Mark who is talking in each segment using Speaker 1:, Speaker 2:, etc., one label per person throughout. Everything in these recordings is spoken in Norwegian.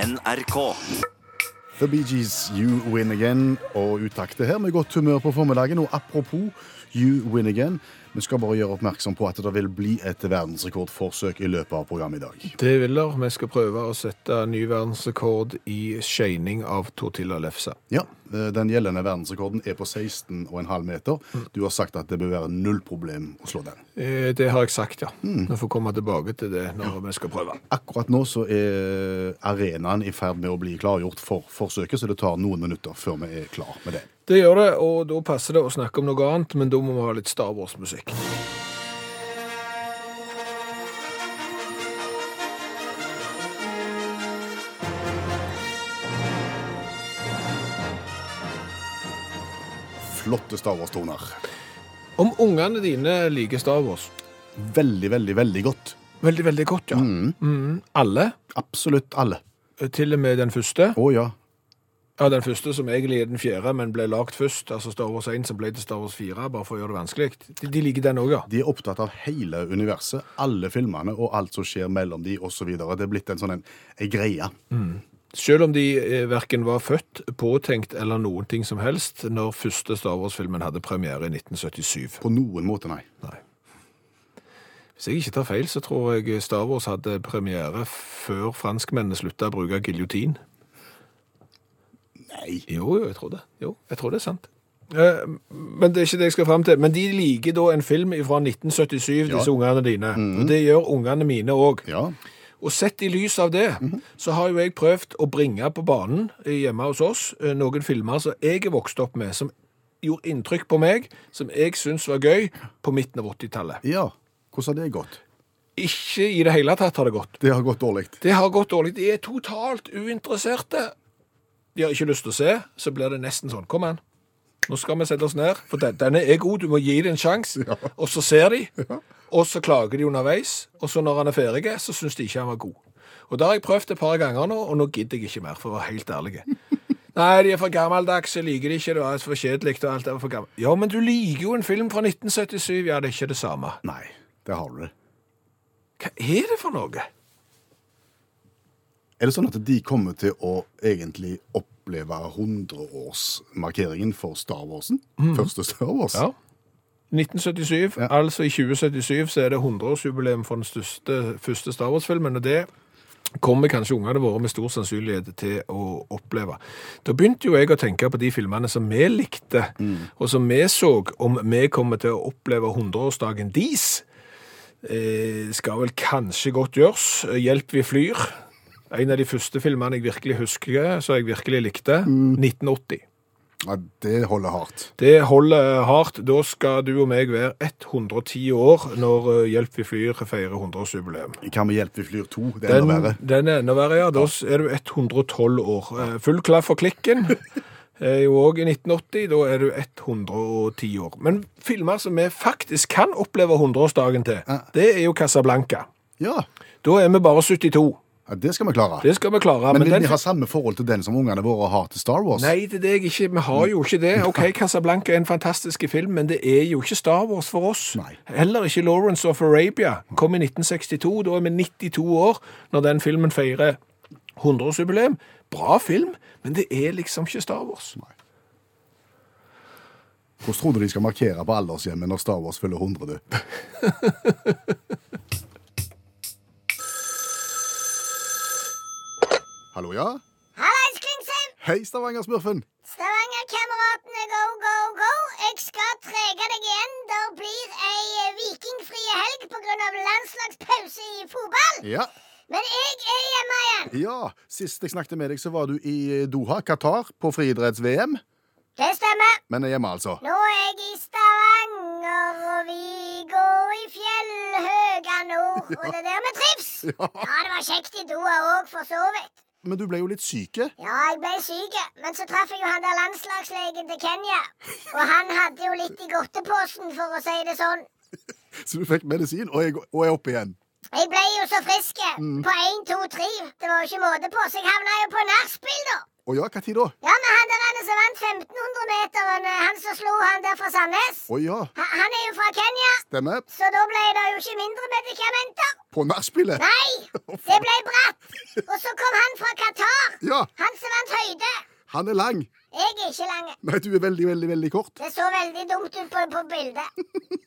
Speaker 1: NRK.
Speaker 2: The Bee Gees, You Win Again og utakte her med godt humør på formiddagen. Og apropos You Win Again, vi skal bare gjøre oppmerksom på at det vil bli et verdensrekordforsøk i løpet av programmet i dag.
Speaker 3: Det vil der. Vi skal prøve å sette ny verdensrekord i skeining av tortillalefse.
Speaker 2: Ja, eh, Den gjeldende verdensrekorden er på 16,5 meter. Du har sagt at det bør være null problem å slå den.
Speaker 3: Eh, Det har jeg sagt, ja. Vi får komme tilbake til det når vi skal prøve.
Speaker 2: Akkurat nå så er arenaen i ferd med å bli klargjort for forsøket, så det tar noen minutter før vi er klar med det.
Speaker 3: Det gjør det, og da passer det å snakke om noe annet, men da må vi ha litt Star Wars-musikk.
Speaker 2: Flotte Star Wars-toner.
Speaker 3: Om ungene dine liker Star Wars
Speaker 2: Veldig, veldig, veldig godt.
Speaker 3: Veldig, veldig godt, ja. Mm, alle.
Speaker 2: Absolutt alle.
Speaker 3: Til og med den første.
Speaker 2: Å ja.
Speaker 3: Ja, den første som egentlig er den fjerde, men ble lagt først. Altså Star Wars 1 som ble til Star Wars 4, bare for å gjøre det vanskelig. De, de liker den òg, ja.
Speaker 2: De er opptatt av hele universet, alle filmene og alt som skjer mellom de osv. Det er blitt en sånn en, en greie.
Speaker 3: Selv om de eh, verken var født, påtenkt eller noen ting som helst når første Star Wars-filmen hadde premiere i 1977.
Speaker 2: På noen måte, nei.
Speaker 3: Nei. Hvis jeg ikke tar feil, så tror jeg Star Wars hadde premiere før franskmennene slutta å bruke giljotin.
Speaker 2: Nei.
Speaker 3: Jo, jo, jeg tror det. Jo, jeg tror det er sant. Eh, Men det er ikke det jeg skal frem til. Men de liker da en film fra 1977, disse ungene dine. Og det gjør ungene mine òg.
Speaker 2: Ja.
Speaker 3: Og sett i lys av det, så har jo jeg prøvd å bringe på banen hjemme hos oss eh, noen filmer som jeg er vokst opp med, som gjorde inntrykk på meg, som jeg syns var gøy på midten av 80-tallet.
Speaker 2: ja. Hvordan har det gått?
Speaker 3: Ikke i det hele tatt har det gått.
Speaker 2: Det har gått dårlig.
Speaker 3: Det har gått dårlig. De er totalt uinteresserte. De har ikke lyst til å se, så blir det nesten sånn. Kom an. Nå skal vi sette oss ned, for den, denne er god, du må gi det en sjanse. Og så ser de, og så klager de underveis, og så når han er ferdig, så syns de ikke han var god. Og det har jeg prøvd et par ganger nå, og nå gidder jeg ikke mer, for å være helt ærlig. Nei, de er for gammeldags, jeg liker de ikke, det var for kjedelig og alt det var for gammelt. Ja, men du liker jo en film fra 1977, ja, det er ikke det samme.
Speaker 2: Nei, det har du det.
Speaker 3: Hva er det for noe?
Speaker 2: Er det sånn at de kommer til å egentlig oppleve 100-årsmarkeringen for Star Warsen? Første Star Wars?
Speaker 3: Mhm. Ja. 1977, altså i 2077, så er det 100-årsjubileum for den største, første Star Wars-filmen, og det kommer kanskje ungene våre med stor sannsynlighet til å oppleve. Da begynte jo jeg å tenke på de filmene som vi likte, og som vi så, om vi kommer til å oppleve 100-årsdagen deres. Eh, skal vel kanskje godt gjøres. Hjelp vi flyr. En av de første filmene jeg virkelig husker, som jeg virkelig likte, 1980.
Speaker 2: Ja, det holder hardt.
Speaker 3: Det holder hardt. Da skal du og meg være 110 år når eh, Hjelp vi flyr feirer 100-årsjubileum.
Speaker 2: Kan vi hjelpe i Flyr 2? Det er
Speaker 3: Den,
Speaker 2: enda verre.
Speaker 3: den er enda verre, ja. Da s- er du 112 år. Eh, Full klaff for klikken. er Jo òg i 1980. Da er du 110 år. Men filmer som vi faktisk kan oppleve 100-årsdagen til, det er jo Casablanca.
Speaker 2: Ja.
Speaker 3: Da er vi bare 72.
Speaker 2: ja, det skal vi klare.
Speaker 3: Det skal vi klare.
Speaker 2: Men vil
Speaker 3: den-
Speaker 2: de ha samme forhold til den som ungene våre har til Star Wars?
Speaker 3: Nei, det er det jeg ikke. Vi har jo ikke det. OK, Casablanca er en fantastisk film, men det er jo ikke Star Wars for oss.
Speaker 2: Nei.
Speaker 3: Heller ikke Lawrence of Arabia. Kom i 1962. Da er vi 92 år når den filmen feirer 100-årsjubileum. Bra film, men det er liksom ikke Star Wars.
Speaker 2: Hvordan tror du de skal markere på aldershjemmet når Star Wars fyller 100? du? Hallo, ja?
Speaker 4: Hallais, Klingsheim!
Speaker 2: Hei, Stavanger-smurfen!
Speaker 4: Stavanger-kameratene, go, go, go! Jeg skal trege deg igjen. Det blir ei eh, vikingfrie helg pga. landslagspause i fotball.
Speaker 2: Ja.
Speaker 4: Men jeg er hjemme igjen.
Speaker 2: ja. Sist jeg snakket med deg, så var du i eh, Doha, Qatar, på friidretts-VM.
Speaker 4: Det stemmer.
Speaker 2: Men er hjemme, altså.
Speaker 4: Nå er jeg i Stavanger, og vi går i fjellhøga nord. Og det er der vi trives. Ja, det var kjekt i Doha òg, for så vidt.
Speaker 2: Men du ble jo litt eh? syke.
Speaker 4: Ja, jeg ble syk, men så traff jeg jo han der landslagslegen til Kenya. Og han hadde jo litt i godteposen, for å si det sånn.
Speaker 2: Så du fikk medisin, og jeg, og jeg er oppe igjen.
Speaker 4: Jeg ble jo så frisk på 1, 2, 3. Det var jo ikke måte på, så jeg havna jo på nachspiel, da.
Speaker 2: Å ja, hva tid da?
Speaker 4: Ja, men han der han som vant 1500-meteren, eh, han som slo han der fra Sandnes,
Speaker 2: Å ja,
Speaker 4: ha- han er jo fra Kenya.
Speaker 2: stemmer.
Speaker 4: Så da ble det jo ikke mindre medikamenter.
Speaker 2: På nachspielet?
Speaker 4: Nei, det ble bratt. Og så kom han fra Qatar,
Speaker 2: Ja,
Speaker 4: Han som vant høyde.
Speaker 2: han er lang.
Speaker 4: Jeg er ikke lang.
Speaker 2: Nei, du er veldig, veldig, veldig kort.
Speaker 4: Det så veldig dumt ut på, på bildet.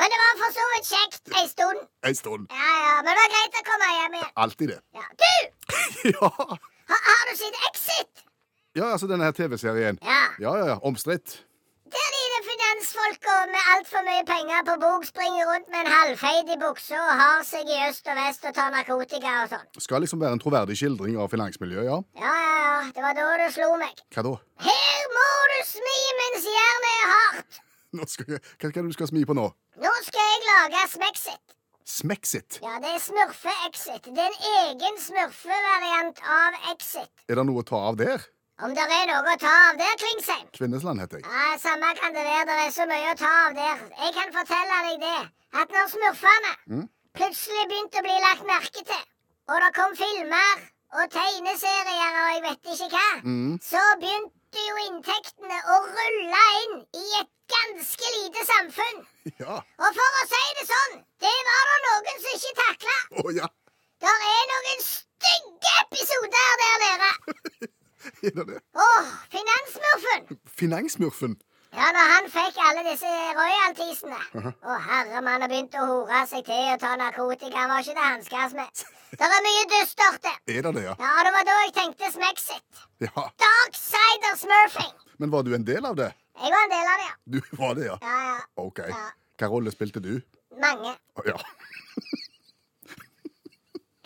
Speaker 4: Men det var for så vidt kjekt ei stund.
Speaker 2: En stund.
Speaker 4: Ja, ja, Men det var greit å komme hjem igjen.
Speaker 2: Alltid det.
Speaker 4: Ja. Du!
Speaker 2: Ja,
Speaker 4: Har, har du sett Exit?
Speaker 2: ja altså denne her TV-serien.
Speaker 4: Ja.
Speaker 2: Ja, ja, ja. Omstridt.
Speaker 4: Der dine finansfolka med altfor mye penger på bok springer rundt med en halvfeit i buksa og har seg i øst og vest og tar narkotika og sånn.
Speaker 2: Skal liksom være en troverdig skildring av finansmiljøet, ja.
Speaker 4: Ja, ja, ja. Det var da det slo meg.
Speaker 2: Hva da?
Speaker 4: Her må du smi mens jernet er hardt.
Speaker 2: Nå skal jeg, hva, hva er det du skal smi på nå?
Speaker 4: Nå skal jeg lage Smexit.
Speaker 2: Smexit.
Speaker 4: Ja, det er Smurfe-Exit. Det er en egen smurfevariant av Exit.
Speaker 2: Er det noe å ta av der?
Speaker 4: Om det er noe å ta av der, Klingsheim?
Speaker 2: Kvinnesland heter jeg.
Speaker 4: Ja, Samme kan det være. Det er så mye å ta av der. Jeg kan fortelle deg det. At når smurfene plutselig begynte å bli lagt merke til, og det kom filmer og tegneserier og jeg vet ikke hva, så begynte jo inntektene å rulle inn i et ganske lite samfunn.
Speaker 2: Ja.
Speaker 4: Og for å si det sånn, det var det noen som ikke takla.
Speaker 2: Å ja.
Speaker 4: Det er noen stygge episoder der nede.
Speaker 2: Er det det?
Speaker 4: Åh, Finansmurfen.
Speaker 2: Finansmurfen.
Speaker 4: Ja, når han fikk alle disse royaltiesene Å, herremann, og begynte å hore seg til og ta narkotika. Han var ikke det hanskes med. Det er mye dystert, det.
Speaker 2: Er det det, ja?
Speaker 4: Ja, det var da jeg tenkte Smexit.
Speaker 2: Ja.
Speaker 4: Darksider smurfing.
Speaker 2: Men var du en del av det?
Speaker 4: Jeg var en del av det, ja.
Speaker 2: Du var det, ja.
Speaker 4: Ja, ja.
Speaker 2: OK.
Speaker 4: Ja.
Speaker 2: Hva rolle spilte du?
Speaker 4: Mange.
Speaker 2: Å, Ja.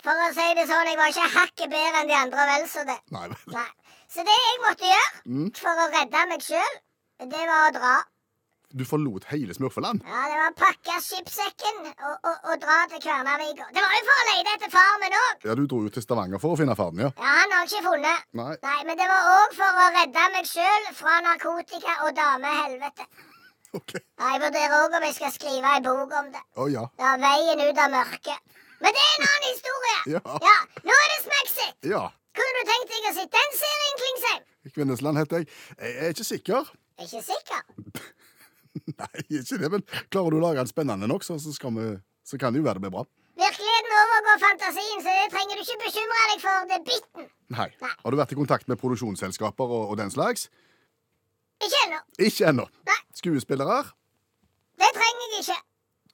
Speaker 4: For å si det sånn, jeg var ikke hakket bedre enn de andre, og vel så det.
Speaker 2: Nei vel.
Speaker 4: Nei. Så det jeg måtte gjøre for å redde meg sjøl, det var å dra.
Speaker 2: Du forlot hele Smurfeland?
Speaker 4: Ja, det var å pakke skipssekken og, og, og dra til Kværnervika. Det var jo for å lete etter far min òg.
Speaker 2: Ja, du dro jo til Stavanger for å finne faren, ja.
Speaker 4: Ja, han har jeg ikke funnet.
Speaker 2: Nei.
Speaker 4: Nei, men det var òg for å redde meg sjøl fra narkotika og damehelvete.
Speaker 2: OK.
Speaker 4: Ja, Jeg vurderer òg om jeg skal skrive ei bok om det.
Speaker 2: Å ja.
Speaker 4: Ja, Veien ut av mørket. Men det er en annen historie.
Speaker 2: Ja.
Speaker 4: Nå er det Smexit.
Speaker 2: Ja.
Speaker 4: Kunne du tenkt deg å se den serien, Klingsheim?
Speaker 2: Kvinnesland heter jeg. Jeg er ikke sikker.
Speaker 4: Er ikke sikker.
Speaker 2: Nei, ikke det, men klarer du å lage den spennende nok, så, så, skal vi, så kan det jo være det blir bra.
Speaker 4: Virkeligheten overgår fantasien, så det trenger du ikke bekymre deg for. Det er bitten.
Speaker 2: Nei. Har du vært i kontakt med produksjonsselskaper og, og den slags?
Speaker 4: Ikke ennå.
Speaker 2: Ikke ennå.
Speaker 4: Nei.
Speaker 2: Skuespillere?
Speaker 4: Det trenger jeg ikke.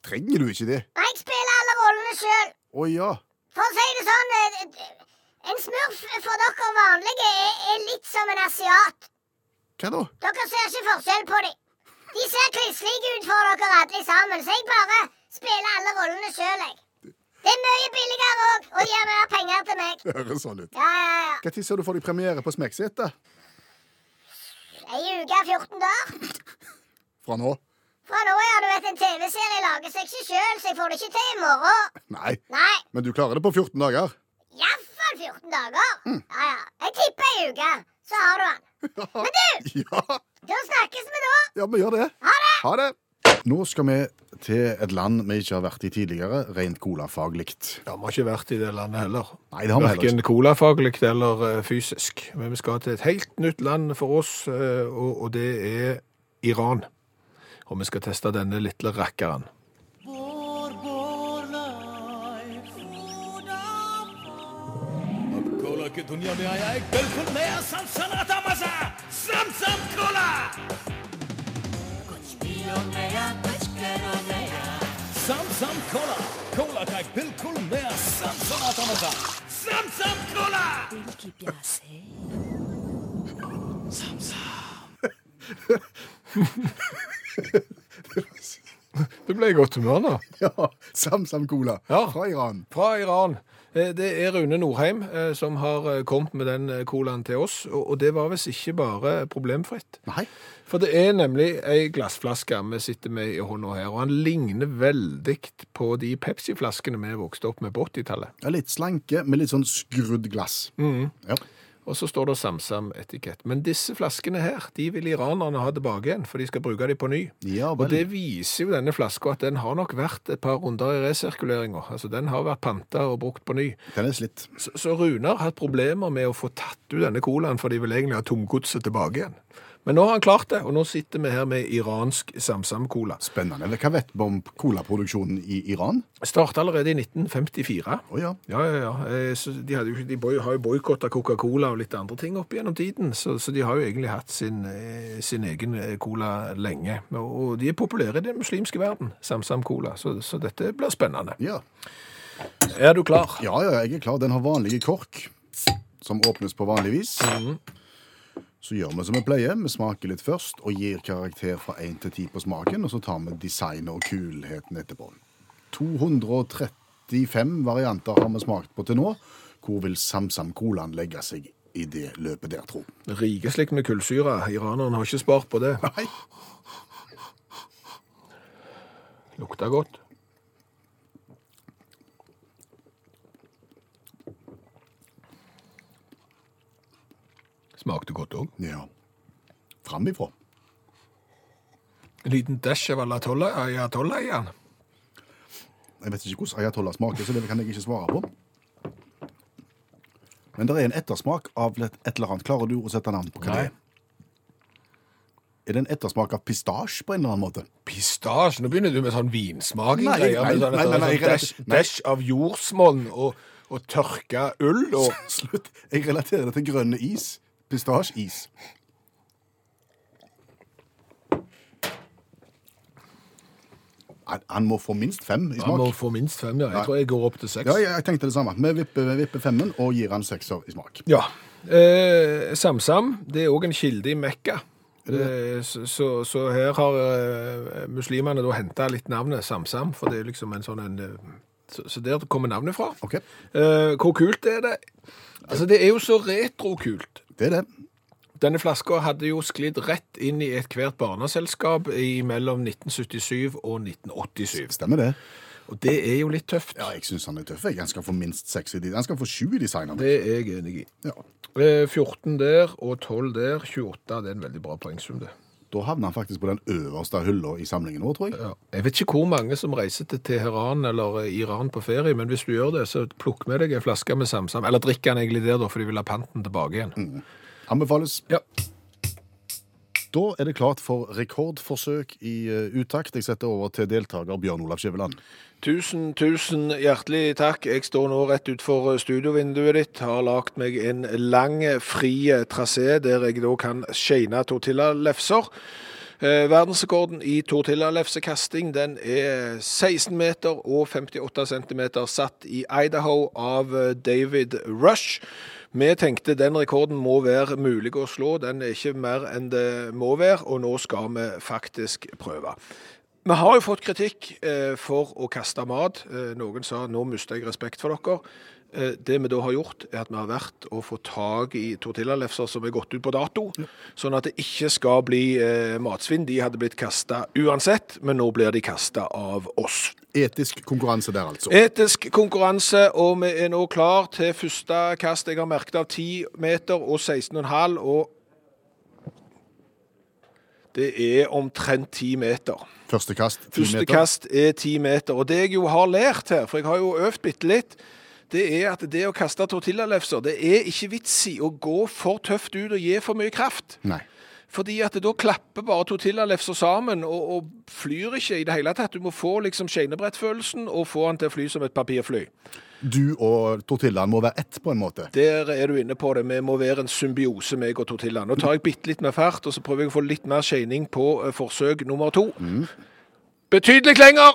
Speaker 2: Trenger du ikke det?
Speaker 4: Nei, jeg spiller alle rollene sjøl.
Speaker 2: Å ja.
Speaker 4: For å si det sånn eh, eh, En smurf for dere vanlige er, er litt som en asiat.
Speaker 2: Hva da?
Speaker 4: Dere ser ikke forskjell på dem. De ser klisslige ut for dere alle sammen, så jeg bare spiller alle rollene sjøl, jeg. Det er mye billigere òg, og de gir mer penger til meg.
Speaker 2: Det høres sånn ut.
Speaker 4: Ja, ja, ja.
Speaker 2: Når ser du for deg premiere på Smekset? da?
Speaker 4: Ei uke og 14 dager.
Speaker 2: Fra nå?
Speaker 4: Fra nå ja, du vet, en TV-serie lager seg ikke sjøl, så jeg får det ikke til i morgen.
Speaker 2: Nei.
Speaker 4: Nei,
Speaker 2: Men du klarer det på 14 dager?
Speaker 4: iallfall 14 dager. Ja, ja. Jeg tipper ei uke, så har du den. Men du!
Speaker 2: Ja.
Speaker 4: Da snakkes vi da.
Speaker 2: Ja, vi gjør det.
Speaker 4: Ha det!
Speaker 2: Ha det. Nå skal vi til et land vi ikke har vært i tidligere, rent colafaglig.
Speaker 3: Ja, Vi har ikke vært i det landet heller.
Speaker 2: Nei, det har vi heller
Speaker 3: Verken colafaglig eller eh, fysisk. Men vi skal til et helt nytt land for oss, eh, og, og det er Iran. Og vi skal teste denne lille rakkeren.
Speaker 5: Cola की दुनिया में आया एक बिल्कुल नया सनसनाटा मजा Sam Sam Cola कुछ पियो नया कुछ करो नया सम सम कोला कोला का एक बिल्कुल नया सनसनाटा मजा Sam Sam cola
Speaker 3: Du ble i godt humør nå.
Speaker 2: Ja, Samsam Cola
Speaker 3: Ja.
Speaker 2: fra Iran.
Speaker 3: Fra Iran. Eh, Det er Rune Norheim eh, som har eh, kommet med den eh, colaen til oss, og og det var visst ikke bare problemfritt.
Speaker 2: Nei.
Speaker 3: For det er nemlig ei glassflaske vi sitter med i hånda her, og han ligner veldig på de Pepsi-flaskene vi vokste opp med på 80-tallet.
Speaker 2: Ja, litt slanke, med litt sånn skrudd glass.
Speaker 3: Mm.
Speaker 2: Ja.
Speaker 3: Og så står det Samsam-etikett. Men disse flaskene her, de vil iranerne ha tilbake igjen, for de skal bruke dem på ny.
Speaker 2: Ja, vel.
Speaker 3: og det viser jo denne flaska at den har nok vært et par runder i resirkuleringa. Altså, den har vært panta og brukt på ny.
Speaker 2: Den er slitt.
Speaker 3: Så, så Rune har hatt problemer med å få tatt ut denne colaen, for de vil egentlig ha tomgodset tilbake igjen. Men nå har han klart det, og nå sitter vi her med iransk Samsam-cola.
Speaker 2: Spennende. Hva vet vi om colaproduksjonen i Iran?
Speaker 3: Starta allerede i 1954.
Speaker 2: Å ja.
Speaker 3: Ja, ja, ja. Eh, Så de, hadde jo, ikke- de boy- har jo boikotta Coca-Cola og litt andre ting opp gjennom tiden, så, så de har jo egentlig hatt sin, eh, sin egen eh, cola lenge. Og og de er populære i den muslimske verden, Samsam-cola, så, så dette blir spennende.
Speaker 2: ja.
Speaker 3: Er du klar?
Speaker 2: Ja, ja, jeg er klar. Den har vanlige kork, som åpnes på vanlig vis.
Speaker 3: Mm.
Speaker 2: Så gjør vi som vi pleier. Vi smaker litt først og gir karakter fra 1 til 10 på smaken. Og så tar vi designet og kulheten etterpå. 235 varianter har vi smakt på til nå. Hvor vil Samsam Colaen legge seg i det løpet der, tro?
Speaker 3: Rikeslikt med kullsyre. Iranerne har ikke spart på det.
Speaker 2: Nei,
Speaker 3: Lukter godt. Smakte godt òg.
Speaker 2: ja. Framifrå.
Speaker 3: En liten dash av eh, ayatollah ayatollah i den.
Speaker 2: Jeg vet ikke hvordan ayatollah smaker, så det kan jeg ikke svare på. Men det er en ettersmak av et et eller annet. Klarer du å sette navn på hva det er? Er det en ettersmak av pistasje på en eller annen måte?
Speaker 3: Pistasje? Nå begynner du med sånn
Speaker 2: Nei,
Speaker 3: vinsmakgreier.
Speaker 2: nei,
Speaker 3: med sånn,
Speaker 2: nei, nei, nei,
Speaker 3: sånn dash,
Speaker 2: nei.
Speaker 3: dash av jordsmonn og, og tørka ull. Og,
Speaker 2: Slutt. Jeg relaterer det til grønne is. Pistasjeis. Han- Han må få minst fem i
Speaker 3: man må
Speaker 2: smak.
Speaker 3: få minst fem, ja.
Speaker 2: Nei.
Speaker 3: Jeg tror jeg går opp til seks.
Speaker 2: Ja, ja, jeg tenkte det samme. Vi vipper, vi vipper femmen og gir han sekser i smak.
Speaker 3: Ja. Eh, Samsam, det er òg en kilde i Mekka. Eh, så, så- så her har eh, muslimene da henta litt navnet Samsam, for det er liksom en sånn en eh, Så, så der kommer navnet fra.
Speaker 2: Ok,
Speaker 3: Eh, hvor kult er det? Altså, det er jo så retrokult.
Speaker 2: det er det.
Speaker 3: Denne flaska hadde jo sklidd rett inn i ethvert barneselskap i mellom 1977 og 1987.
Speaker 2: Stemmer det.
Speaker 3: Og det er jo litt tøft.
Speaker 2: Ja, jeg syns han er tøff. jeg. Han skal få minst seks i de. Han skal få sju i designeren.
Speaker 3: Det er jeg enig i.
Speaker 2: Ja.
Speaker 3: Eh, 14 der og 12 der. 28, det er en veldig bra poengsum, det.
Speaker 2: Da havner han faktisk på den øverste hylla i samlingen vår, tror jeg.
Speaker 3: Ja. Jeg vet ikke hvor mange som reiser til Teheran eller eh, Iran på ferie, men hvis du gjør det, så plukk med deg en flaske med Samsam. Eller drikk den egentlig der, da, for de vil ha panten tilbake igjen.
Speaker 2: Anbefales.
Speaker 3: Ja.
Speaker 2: Da er det klart for rekordforsøk i eh, utakt. Jeg setter over til deltaker Bjørn Olav Skjæveland.
Speaker 3: Tusen, tusen hjertelig takk. Jeg står nå rett utenfor eh, studiovinduet ditt. Har lagt meg en lang, fri eh, trasé der jeg da kan shane tortillalefser. Eh, Verdensrekorden i tortillalefsekasting den er 16 meter og 58 centimeter satt i Idaho av eh, David Rush. Vi tenkte den rekorden må være mulig å slå, den er ikke mer enn det må være, og nå skal vi faktisk prøve. Vi har jo fått kritikk eh, for å kaste mat. Eh, noen sa nå mister jeg respekt for dere. Eh, det vi da har gjort, er at vi har vært og fått tak i tortillalefser som er gått ut på dato, sånn at det ikke skal bli eh, matsvinn. De hadde blitt kasta uansett, men nå blir de kasta av oss.
Speaker 2: Etisk konkurranse der,
Speaker 3: E-
Speaker 2: altså.
Speaker 3: Etisk konkurranse, og vi er nå klar til første kast. Jeg har merket av 10 meter og 16,5, og det er omtrent 10 meter.
Speaker 2: Første kast, ti
Speaker 3: Første
Speaker 2: meter.
Speaker 3: kast er ti meter. Og det jeg jo har lært her, for jeg har jo øvd bitte litt, det er at det å kaste tortillalefser, det er ikke vits i å gå for tøft ut og gi for mye kraft.
Speaker 2: Nei.
Speaker 3: Fordi at da klapper bare tortillalefser sammen og, og flyr ikke i det hele tatt. Du må få liksom skjenebrettfølelsen og få den til å fly som et papirfly.
Speaker 2: Du og tortillaen må være ett, på en måte.
Speaker 3: Der er du inne på det. Vi må være en symbiose, meg og tortillaen. Nå tar jeg bitte litt mer fart, og så prøver jeg å få litt mer skjening på eh, forsøk nummer to. Betydelig lenger!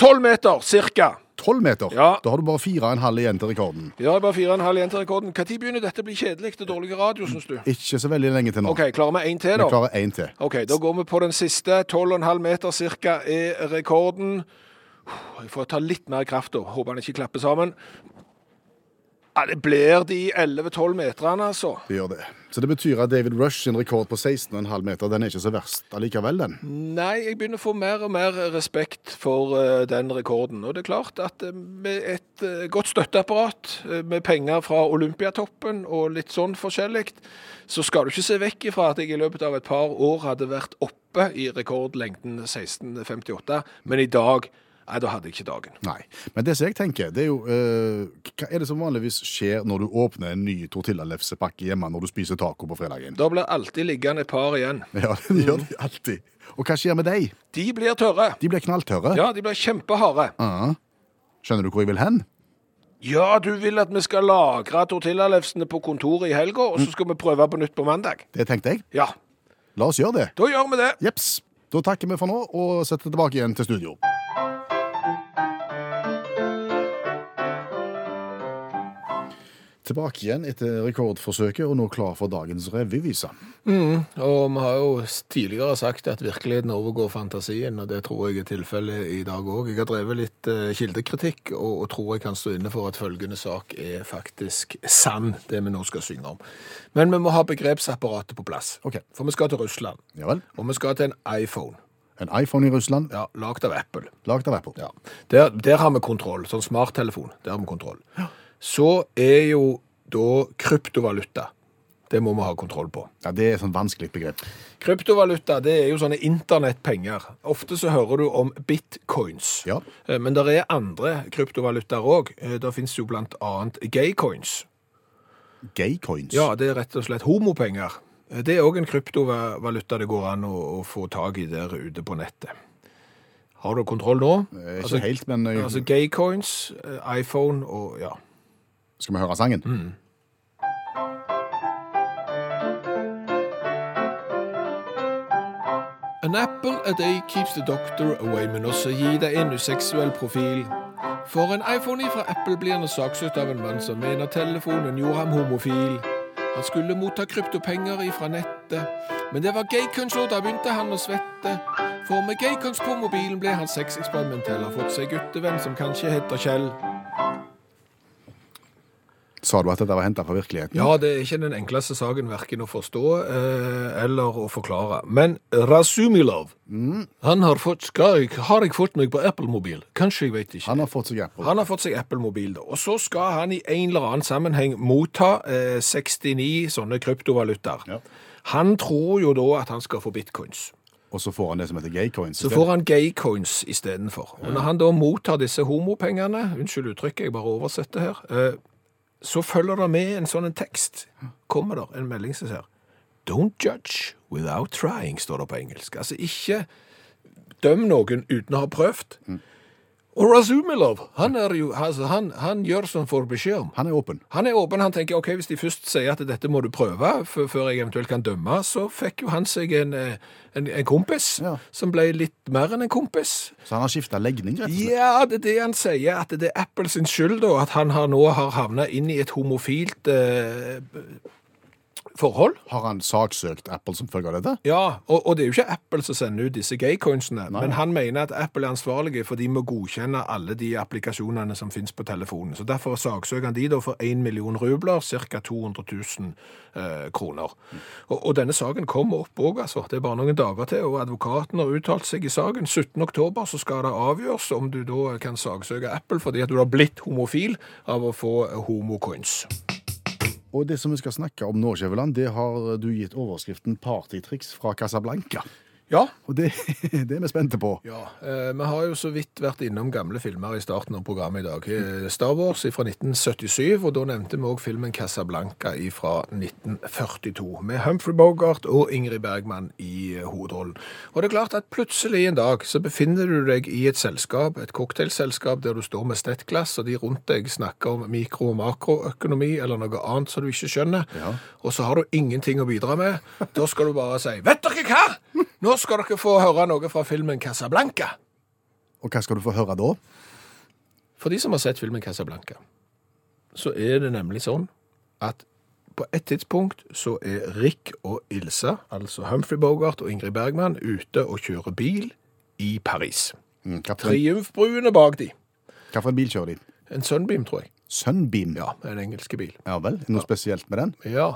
Speaker 3: Tolv meter, cirka.
Speaker 2: Tolv meter!
Speaker 3: Ja.
Speaker 2: Da har du bare fire og en halv igjen til rekorden.
Speaker 3: Vi har bare fire og en halv igjen til rekorden. Når begynner dette å bli kjedelig og dårlig radio, syns du?
Speaker 2: Ikke så veldig lenge til nå.
Speaker 3: OK, klarer vi én til,
Speaker 2: Vi
Speaker 3: da?
Speaker 2: klarer én til.
Speaker 3: OK, da går vi på den siste. 12,5 meter cirka er rekorden. Jeg får ta litt mer kraft, da. Håper han ikke klapper sammen. Ja, det blir de 11-12 meterne, altså.
Speaker 2: Det gjør det. Så det betyr at David Rush sin rekord på 16,5 meter den er ikke så verst allikevel, den.
Speaker 3: Nei, jeg begynner å få mer og mer respekt for eh, den rekorden. Og det er klart at eh, med et eh, godt støtteapparat, eh, med penger fra Olympiatoppen og litt sånn forskjellig, så skal du ikke se vekk ifra at jeg i løpet av et par år hadde vært oppe i rekordlengden 1658, men i dag
Speaker 6: Nei, da hadde jeg ikke dagen.
Speaker 2: Nei. Men det som jeg tenker, det er jo eh, Hva er det som vanligvis skjer når du åpner en ny tortillalefsepakke hjemme når du spiser taco på fredagen?
Speaker 6: Da blir alltid liggende et par igjen.
Speaker 2: Ja, det gjør de alltid. Og hva skjer med deg?
Speaker 6: De blir tørre.
Speaker 2: De blir knalltørre.
Speaker 6: Ja, de blir kjempeharde.
Speaker 2: Skjønner du hvor jeg vil hen?
Speaker 6: Ja, du vil at vi skal lagre tortillalefsene på kontoret i helga, og så skal vi prøve på nytt på mandag.
Speaker 2: Det tenkte jeg.
Speaker 6: Ja,
Speaker 2: La oss gjøre det.
Speaker 6: da gjør vi det.
Speaker 2: Jeps. Da takker vi for nå og setter tilbake igjen til studio. Tilbake igjen etter rekordforsøket, og nå klar for dagens revyvise.
Speaker 3: Og vi har jo tidligere sagt at virkeligheten overgår fantasien, og det tror jeg er tilfellet i dag òg. Jeg har drevet litt eh, kildekritikk, og, og tror jeg kan stå inne for at følgende sak er faktisk sann, det vi nå skal synge om. Men vi må ha begrepsapparatet på plass.
Speaker 2: Ok.
Speaker 3: For vi skal til Russland.
Speaker 2: Ja vel.
Speaker 3: Og vi skal til en iPhone.
Speaker 2: En iPhone i Russland,
Speaker 3: Ja, Lagd av Apple.
Speaker 2: lagd av Apple.
Speaker 3: Ja. Der, der har vi kontroll. Sånn smarttelefon, der har vi kontroll. Så er jo da kryptovaluta. Det må vi ha kontroll på.
Speaker 2: Ja, det er et sånn vanskelig begrep.
Speaker 3: Kryptovaluta det er jo sånne internettpenger. Ofte så hører du om bitcoins.
Speaker 2: Ja.
Speaker 3: Eh, Men det er andre kryptovalutaer òg. Det fins jo blant annet gaycoins.
Speaker 2: Gaycoins.
Speaker 3: Ja, det er rett og slett homopenger. Eh, Det er òg en kryptovaluta det går an å, å få tak i der ute på nettet. Har du kontroll nå?
Speaker 2: Eh, Ikke helt, men eh,
Speaker 3: Altså gaycoins, eh, iPhone og ja.
Speaker 2: skal vi høre sangen?
Speaker 3: Mm. An apple a day keeps the doctor away, men også gi deg en useksuell profil. For en iPhone ifra Apple blir han saksøkt av en mann som mener telefonen gjorde ham homofil. Han skulle motta kryptopenger ifra nettet, men det var gaykunst, og da begynte han å svette. For med gaykunst på mobilen ble han sexeksperimentell, har fått seg guttevenn som kanskje heter Kjell.
Speaker 2: Sa du at dette var henta fra virkeligheten?
Speaker 3: Ja, det er ikke den enkleste saken verken å forstå eh, eller å forklare. Men Rasumilov,
Speaker 2: Mm.
Speaker 3: han har fått skal jeg, Har jeg fått meg på Apple-mobil? Kanskje, jeg vet ikke.
Speaker 2: Han har fått seg Apple.
Speaker 3: Han har fått seg Apple-mobil, da. Og så skal han i en eller annen sammenheng motta eh, 69 sånne kryptovalutaer.
Speaker 2: Ja.
Speaker 3: Han tror jo da at han skal få bitcoins.
Speaker 2: Og så får han det som heter gaycoins.
Speaker 3: Så får han gaycoins istedenfor. Og når han da mottar disse homopengene, unnskyld uttrykket, jeg bare oversetter her, eh, så følger det med en sånn en tekst. Kommer der en melding som sier Don't judge without trying, står det på engelsk. Altså ikke døm noen uten å ha prøvd. Og Razumilov, han, er jo, altså, han, han gjør som han får beskjed om.
Speaker 2: Han er åpen.
Speaker 3: Han er åpen, han tenker ok, hvis de først sier at dette må du prøve før før jeg eventuelt kan dømme, så fikk jo han seg en, eh, en, en kompis
Speaker 2: Ja.
Speaker 3: som ble litt mer enn en kompis.
Speaker 2: Så han har skifta legning, rett og slett.
Speaker 3: Ja, det er det han sier, at det er Apple sin skyld da, at han har nå har havnet inn i et homofilt eh, forhold.
Speaker 2: Har han saksøkt Apple som følge av dette?
Speaker 3: Ja, og, og det er jo ikke Apple som sender ut disse gaycoinsene, men han mener at Apple er ansvarlige, for de må godkjenne alle de applikasjonene som finnes på telefonen. Så derfor saksøker han de da for 1 million rubler, ca. 200 000 eh, kroner. Og, og denne saken kommer opp òg, altså. Det er bare noen dager til, og advokaten har uttalt seg i saken. 17. oktober så skal det avgjøres om du da kan saksøke Apple fordi at du har blitt homofil av å få eh, homocoins.
Speaker 2: Og det som vi skal snakke om nå, Skjæveland, det har du gitt overskriften 'Partytriks fra Casablanca'.
Speaker 3: Ja,
Speaker 2: Og det, det er vi spente på.
Speaker 3: Ja, eh, Vi har jo så vidt vært innom gamle filmer i starten av programmet i dag. Eh, Star Wars fra 1977, og da nevnte vi òg filmen Casablanca fra 1942. Med Humphrey Bogart og Ingrid Bergman i eh, hovedrollen. Og det er klart at plutselig en dag så befinner du deg i et selskap, et cocktailselskap der du står med stettglass, og de rundt deg snakker om mikro- og makroøkonomi eller noe annet som du ikke skjønner, og så har du ingenting å bidra med. Da skal du bare si 'Vet dere hva?' Nå skal dere få høre noe fra filmen Casablanca.
Speaker 2: Og hva skal du få høre da?
Speaker 3: For de som har sett filmen Casablanca, så er det nemlig sånn at på et tidspunkt så er Rick og Ilse, altså Humphrey Bogart og Ingrid Bergman, ute og kjører bil i Paris.
Speaker 2: Mm, Hva for en,
Speaker 3: Triumfbruene bak de.
Speaker 2: hva for en bil kjører de?
Speaker 3: En Sunbeam, tror jeg.
Speaker 2: Sunbeam?
Speaker 3: Ja, en engelske bil.
Speaker 2: Ja vel? Noe spesielt med den?
Speaker 3: Ja,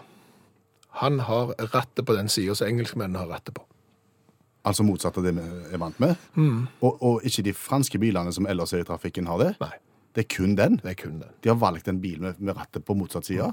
Speaker 3: han har rattet på den siden som engelskmennene har rattet på.
Speaker 2: Altså motsatt av det vi er vant med?
Speaker 3: Mm.
Speaker 2: Og, og ikke de franske bilene som ellers er i trafikken, har det?
Speaker 3: Nei,
Speaker 2: Det er kun den?
Speaker 3: det er kun den.
Speaker 2: De har valgt en bil med, med rattet på motsatt side?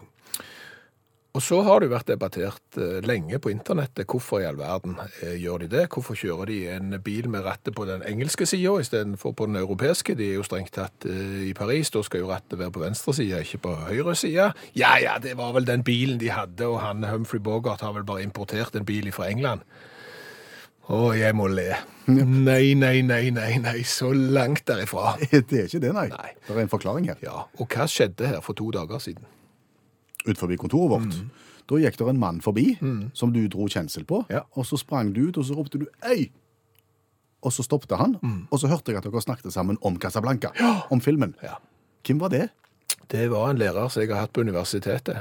Speaker 3: Og så har det jo vært debattert eh, lenge på internettet hvorfor i all verden eh, gjør de det. Hvorfor kjører de en bil med rattet på den engelske sida istedenfor på den europeiske? De er jo strengt tatt eh, i Paris, da skal jo rattet være på venstre side, ikke på høyre side. Ja ja, det var vel den bilen de hadde, og han Humphrey Bogart har vel bare importert en bil fra England. Å, jeg må le. Nei, nei, nei, nei, nei, så langt derifra.
Speaker 2: Det er ikke det, nei.
Speaker 3: Nei.
Speaker 2: Det er en forklaring her.
Speaker 3: Ja, og hva skjedde her for to dager siden?
Speaker 2: Ut forbi kontoret vårt.
Speaker 3: Mm.
Speaker 2: Da gikk det en mann forbi som du dro kjensel på,
Speaker 3: Ja.
Speaker 2: og så sprang du ut, og så ropte du 'ei'. Og så stoppet han, og så hørte jeg at dere snakket sammen om Casablanca, om filmen.
Speaker 3: Mm. Ja.
Speaker 2: Hvem var det?
Speaker 3: Det var en lærer som jeg har hatt på universitetet,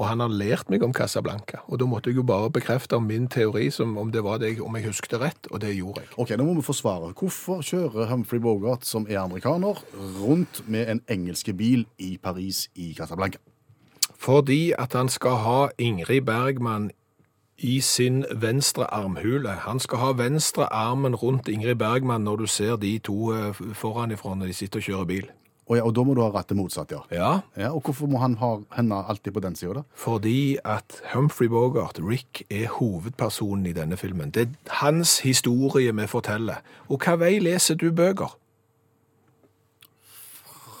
Speaker 3: og han har lært meg om Casablanca. Og da måtte jeg jo bare bekrefte om min teori, som om det var det jeg, om jeg husket rett, og det gjorde jeg.
Speaker 2: Ok, Nå må vi forsvare. Hvorfor kjører Humphrey Bogart, som er amerikaner, rundt med en engelske bil i Paris i Casablanca?
Speaker 3: Fordi at han skal ha Ingrid Bergman i sin venstre armhule. Han skal ha venstre armen rundt Ingrid Bergman når du ser de to eh, foran ifra når de sitter og kjører bil.
Speaker 2: Og, ja, og da må du ha rattet motsatt, ja.
Speaker 3: Ja,
Speaker 2: ja. Og hvorfor må han ha henne alltid på den sida, da?
Speaker 3: Fordi at Humphrey Bogart, Rick, er hovedpersonen i denne filmen. Det er hans historie vi forteller. Og hva vei leser du bøker?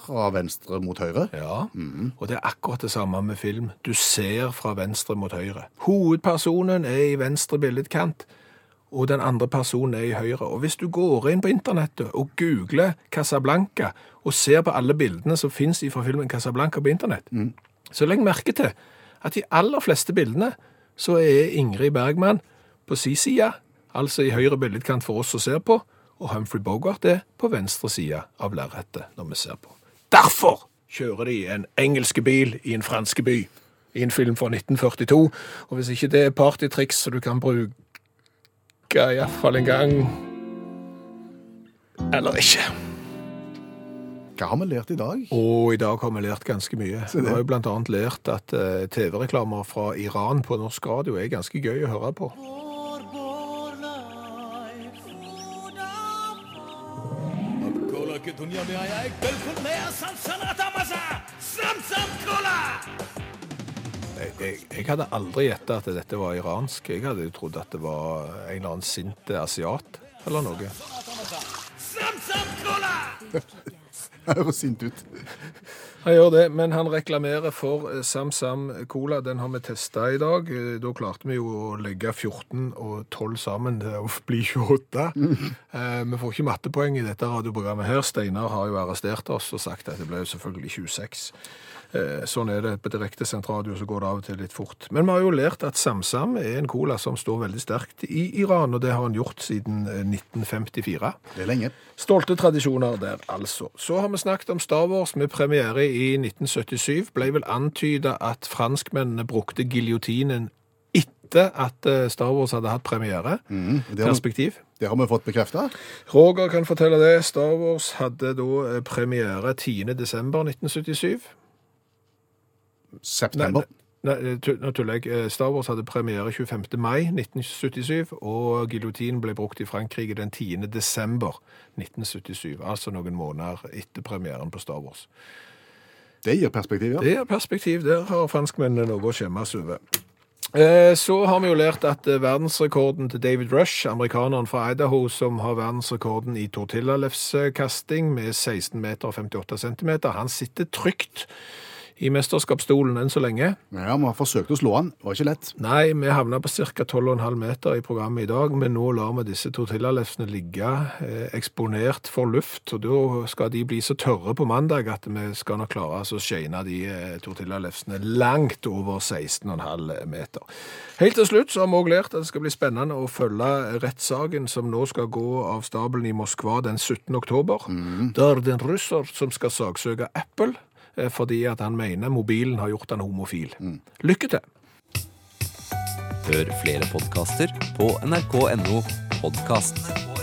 Speaker 2: Fra venstre mot høyre?
Speaker 3: Ja, Mm. og det er akkurat det samme med film. Du ser fra venstre mot høyre. Hovedpersonen er i venstre billedkant, og den andre personen er i høyre. Og hvis du går inn på internettet og googler Casablanca, og ser på alle bildene som finnes fra filmen Casablanca på internett, så legg merke til at de aller fleste bildene så er Ingrid Bergman på si side, altså i høyre billedkant for oss som ser på, og Humphrey Bogart er på venstre side av lerretet når vi ser på. Derfor kjører de en engelske bil i en franske by i en film fra 1942, og hvis ikke det er partytriks så du kan bruke i hvert fall en gang, eller ikke.
Speaker 2: Hva har vi lært i dag?
Speaker 3: Og i dag har vi lært ganske mye. Vi har jo blant annet lært at eh, TV-reklamer fra Iran på norsk radio er ganske gøy å høre på.
Speaker 5: अब cola की दुनिया में आया एक बिल्कुल नया सनसनाटा मजा Sam Sam cola
Speaker 3: Jeg, jeg, jeg hadde aldri gjetta at dette var iransk. Jeg hadde jo trodd at det var en eller annen sint asiat eller noe.
Speaker 5: Sam Sam cola
Speaker 2: Høres sint ut.
Speaker 3: Han gjør det, men han reklamerer for eh, SamSam Cola. Den har vi testa i dag. Eh, Da klarte vi jo å legge 14 og 12 sammen til å bli 28. Eh, Vi får ikke mattepoeng i dette radioprogrammet her. Steinar har jo arrestert oss og sagt at det ble jo selvfølgelig 26. Eh, Sånn er det. På direktesendt radio så går det av og til litt fort. Men vi har jo lært at SamSam er en cola som står veldig sterkt i Iran, og det har han gjort siden eh, 1954.
Speaker 2: Det er lenge.
Speaker 3: Stolte tradisjoner der, altså. Så har vi snakket om Star Wars med premiere i 1977. Ble vel antyda at franskmennene brukte giljotinen etter at eh, Star Wars hadde hatt premiere.
Speaker 2: Mm, Det har, vi,
Speaker 3: Perspektiv.
Speaker 2: det har vi fått bekrefta.
Speaker 3: Roger kan fortelle det. Star Wars hadde da eh, premiere 10.12.1977. Nei,
Speaker 2: September.
Speaker 3: nei, nei, tu- nå tuller jeg. Eh, Star Wars hadde premiere 25. mai 1977, og giljotinen ble brukt i Frankrike den 10. desember 1977, altså noen måneder etter premieren på Star Wars.
Speaker 2: Det gir perspektiv, ja.
Speaker 3: Det er perspektiv. Der har franskmennene noe å skjemmes over. Eh, Så har vi jo lært at eh, verdensrekorden til David Rush, amerikaneren fra Idaho, som har verdensrekorden i tortillalefskasting med 16 meter og 58 centimeter, han sitter trygt i mesterskapsstolen enn så lenge.
Speaker 2: Ja, Vi har forsøkt å slå han. Det var ikke lett.
Speaker 3: Nei, vi havna på ca. 12,5 meter i programmet i dag, men nå lar vi disse tortillalefsene ligge eh, eksponert for luft, og da skal de bli så tørre på mandag at vi skal nok klare oss å shane de eh, tortillalefsene langt over 16,5 meter. Helt til slutt så har vi òg lært at det skal bli spennende å følge rettssaken som nå skal gå av stabelen i Moskva den 17. oktober, der den russer som skal saksøke Apple eh, fordi at han mener mobilen har gjort han homofil. Lykke til!
Speaker 7: Hør flere podkaster på nrk.no podkast.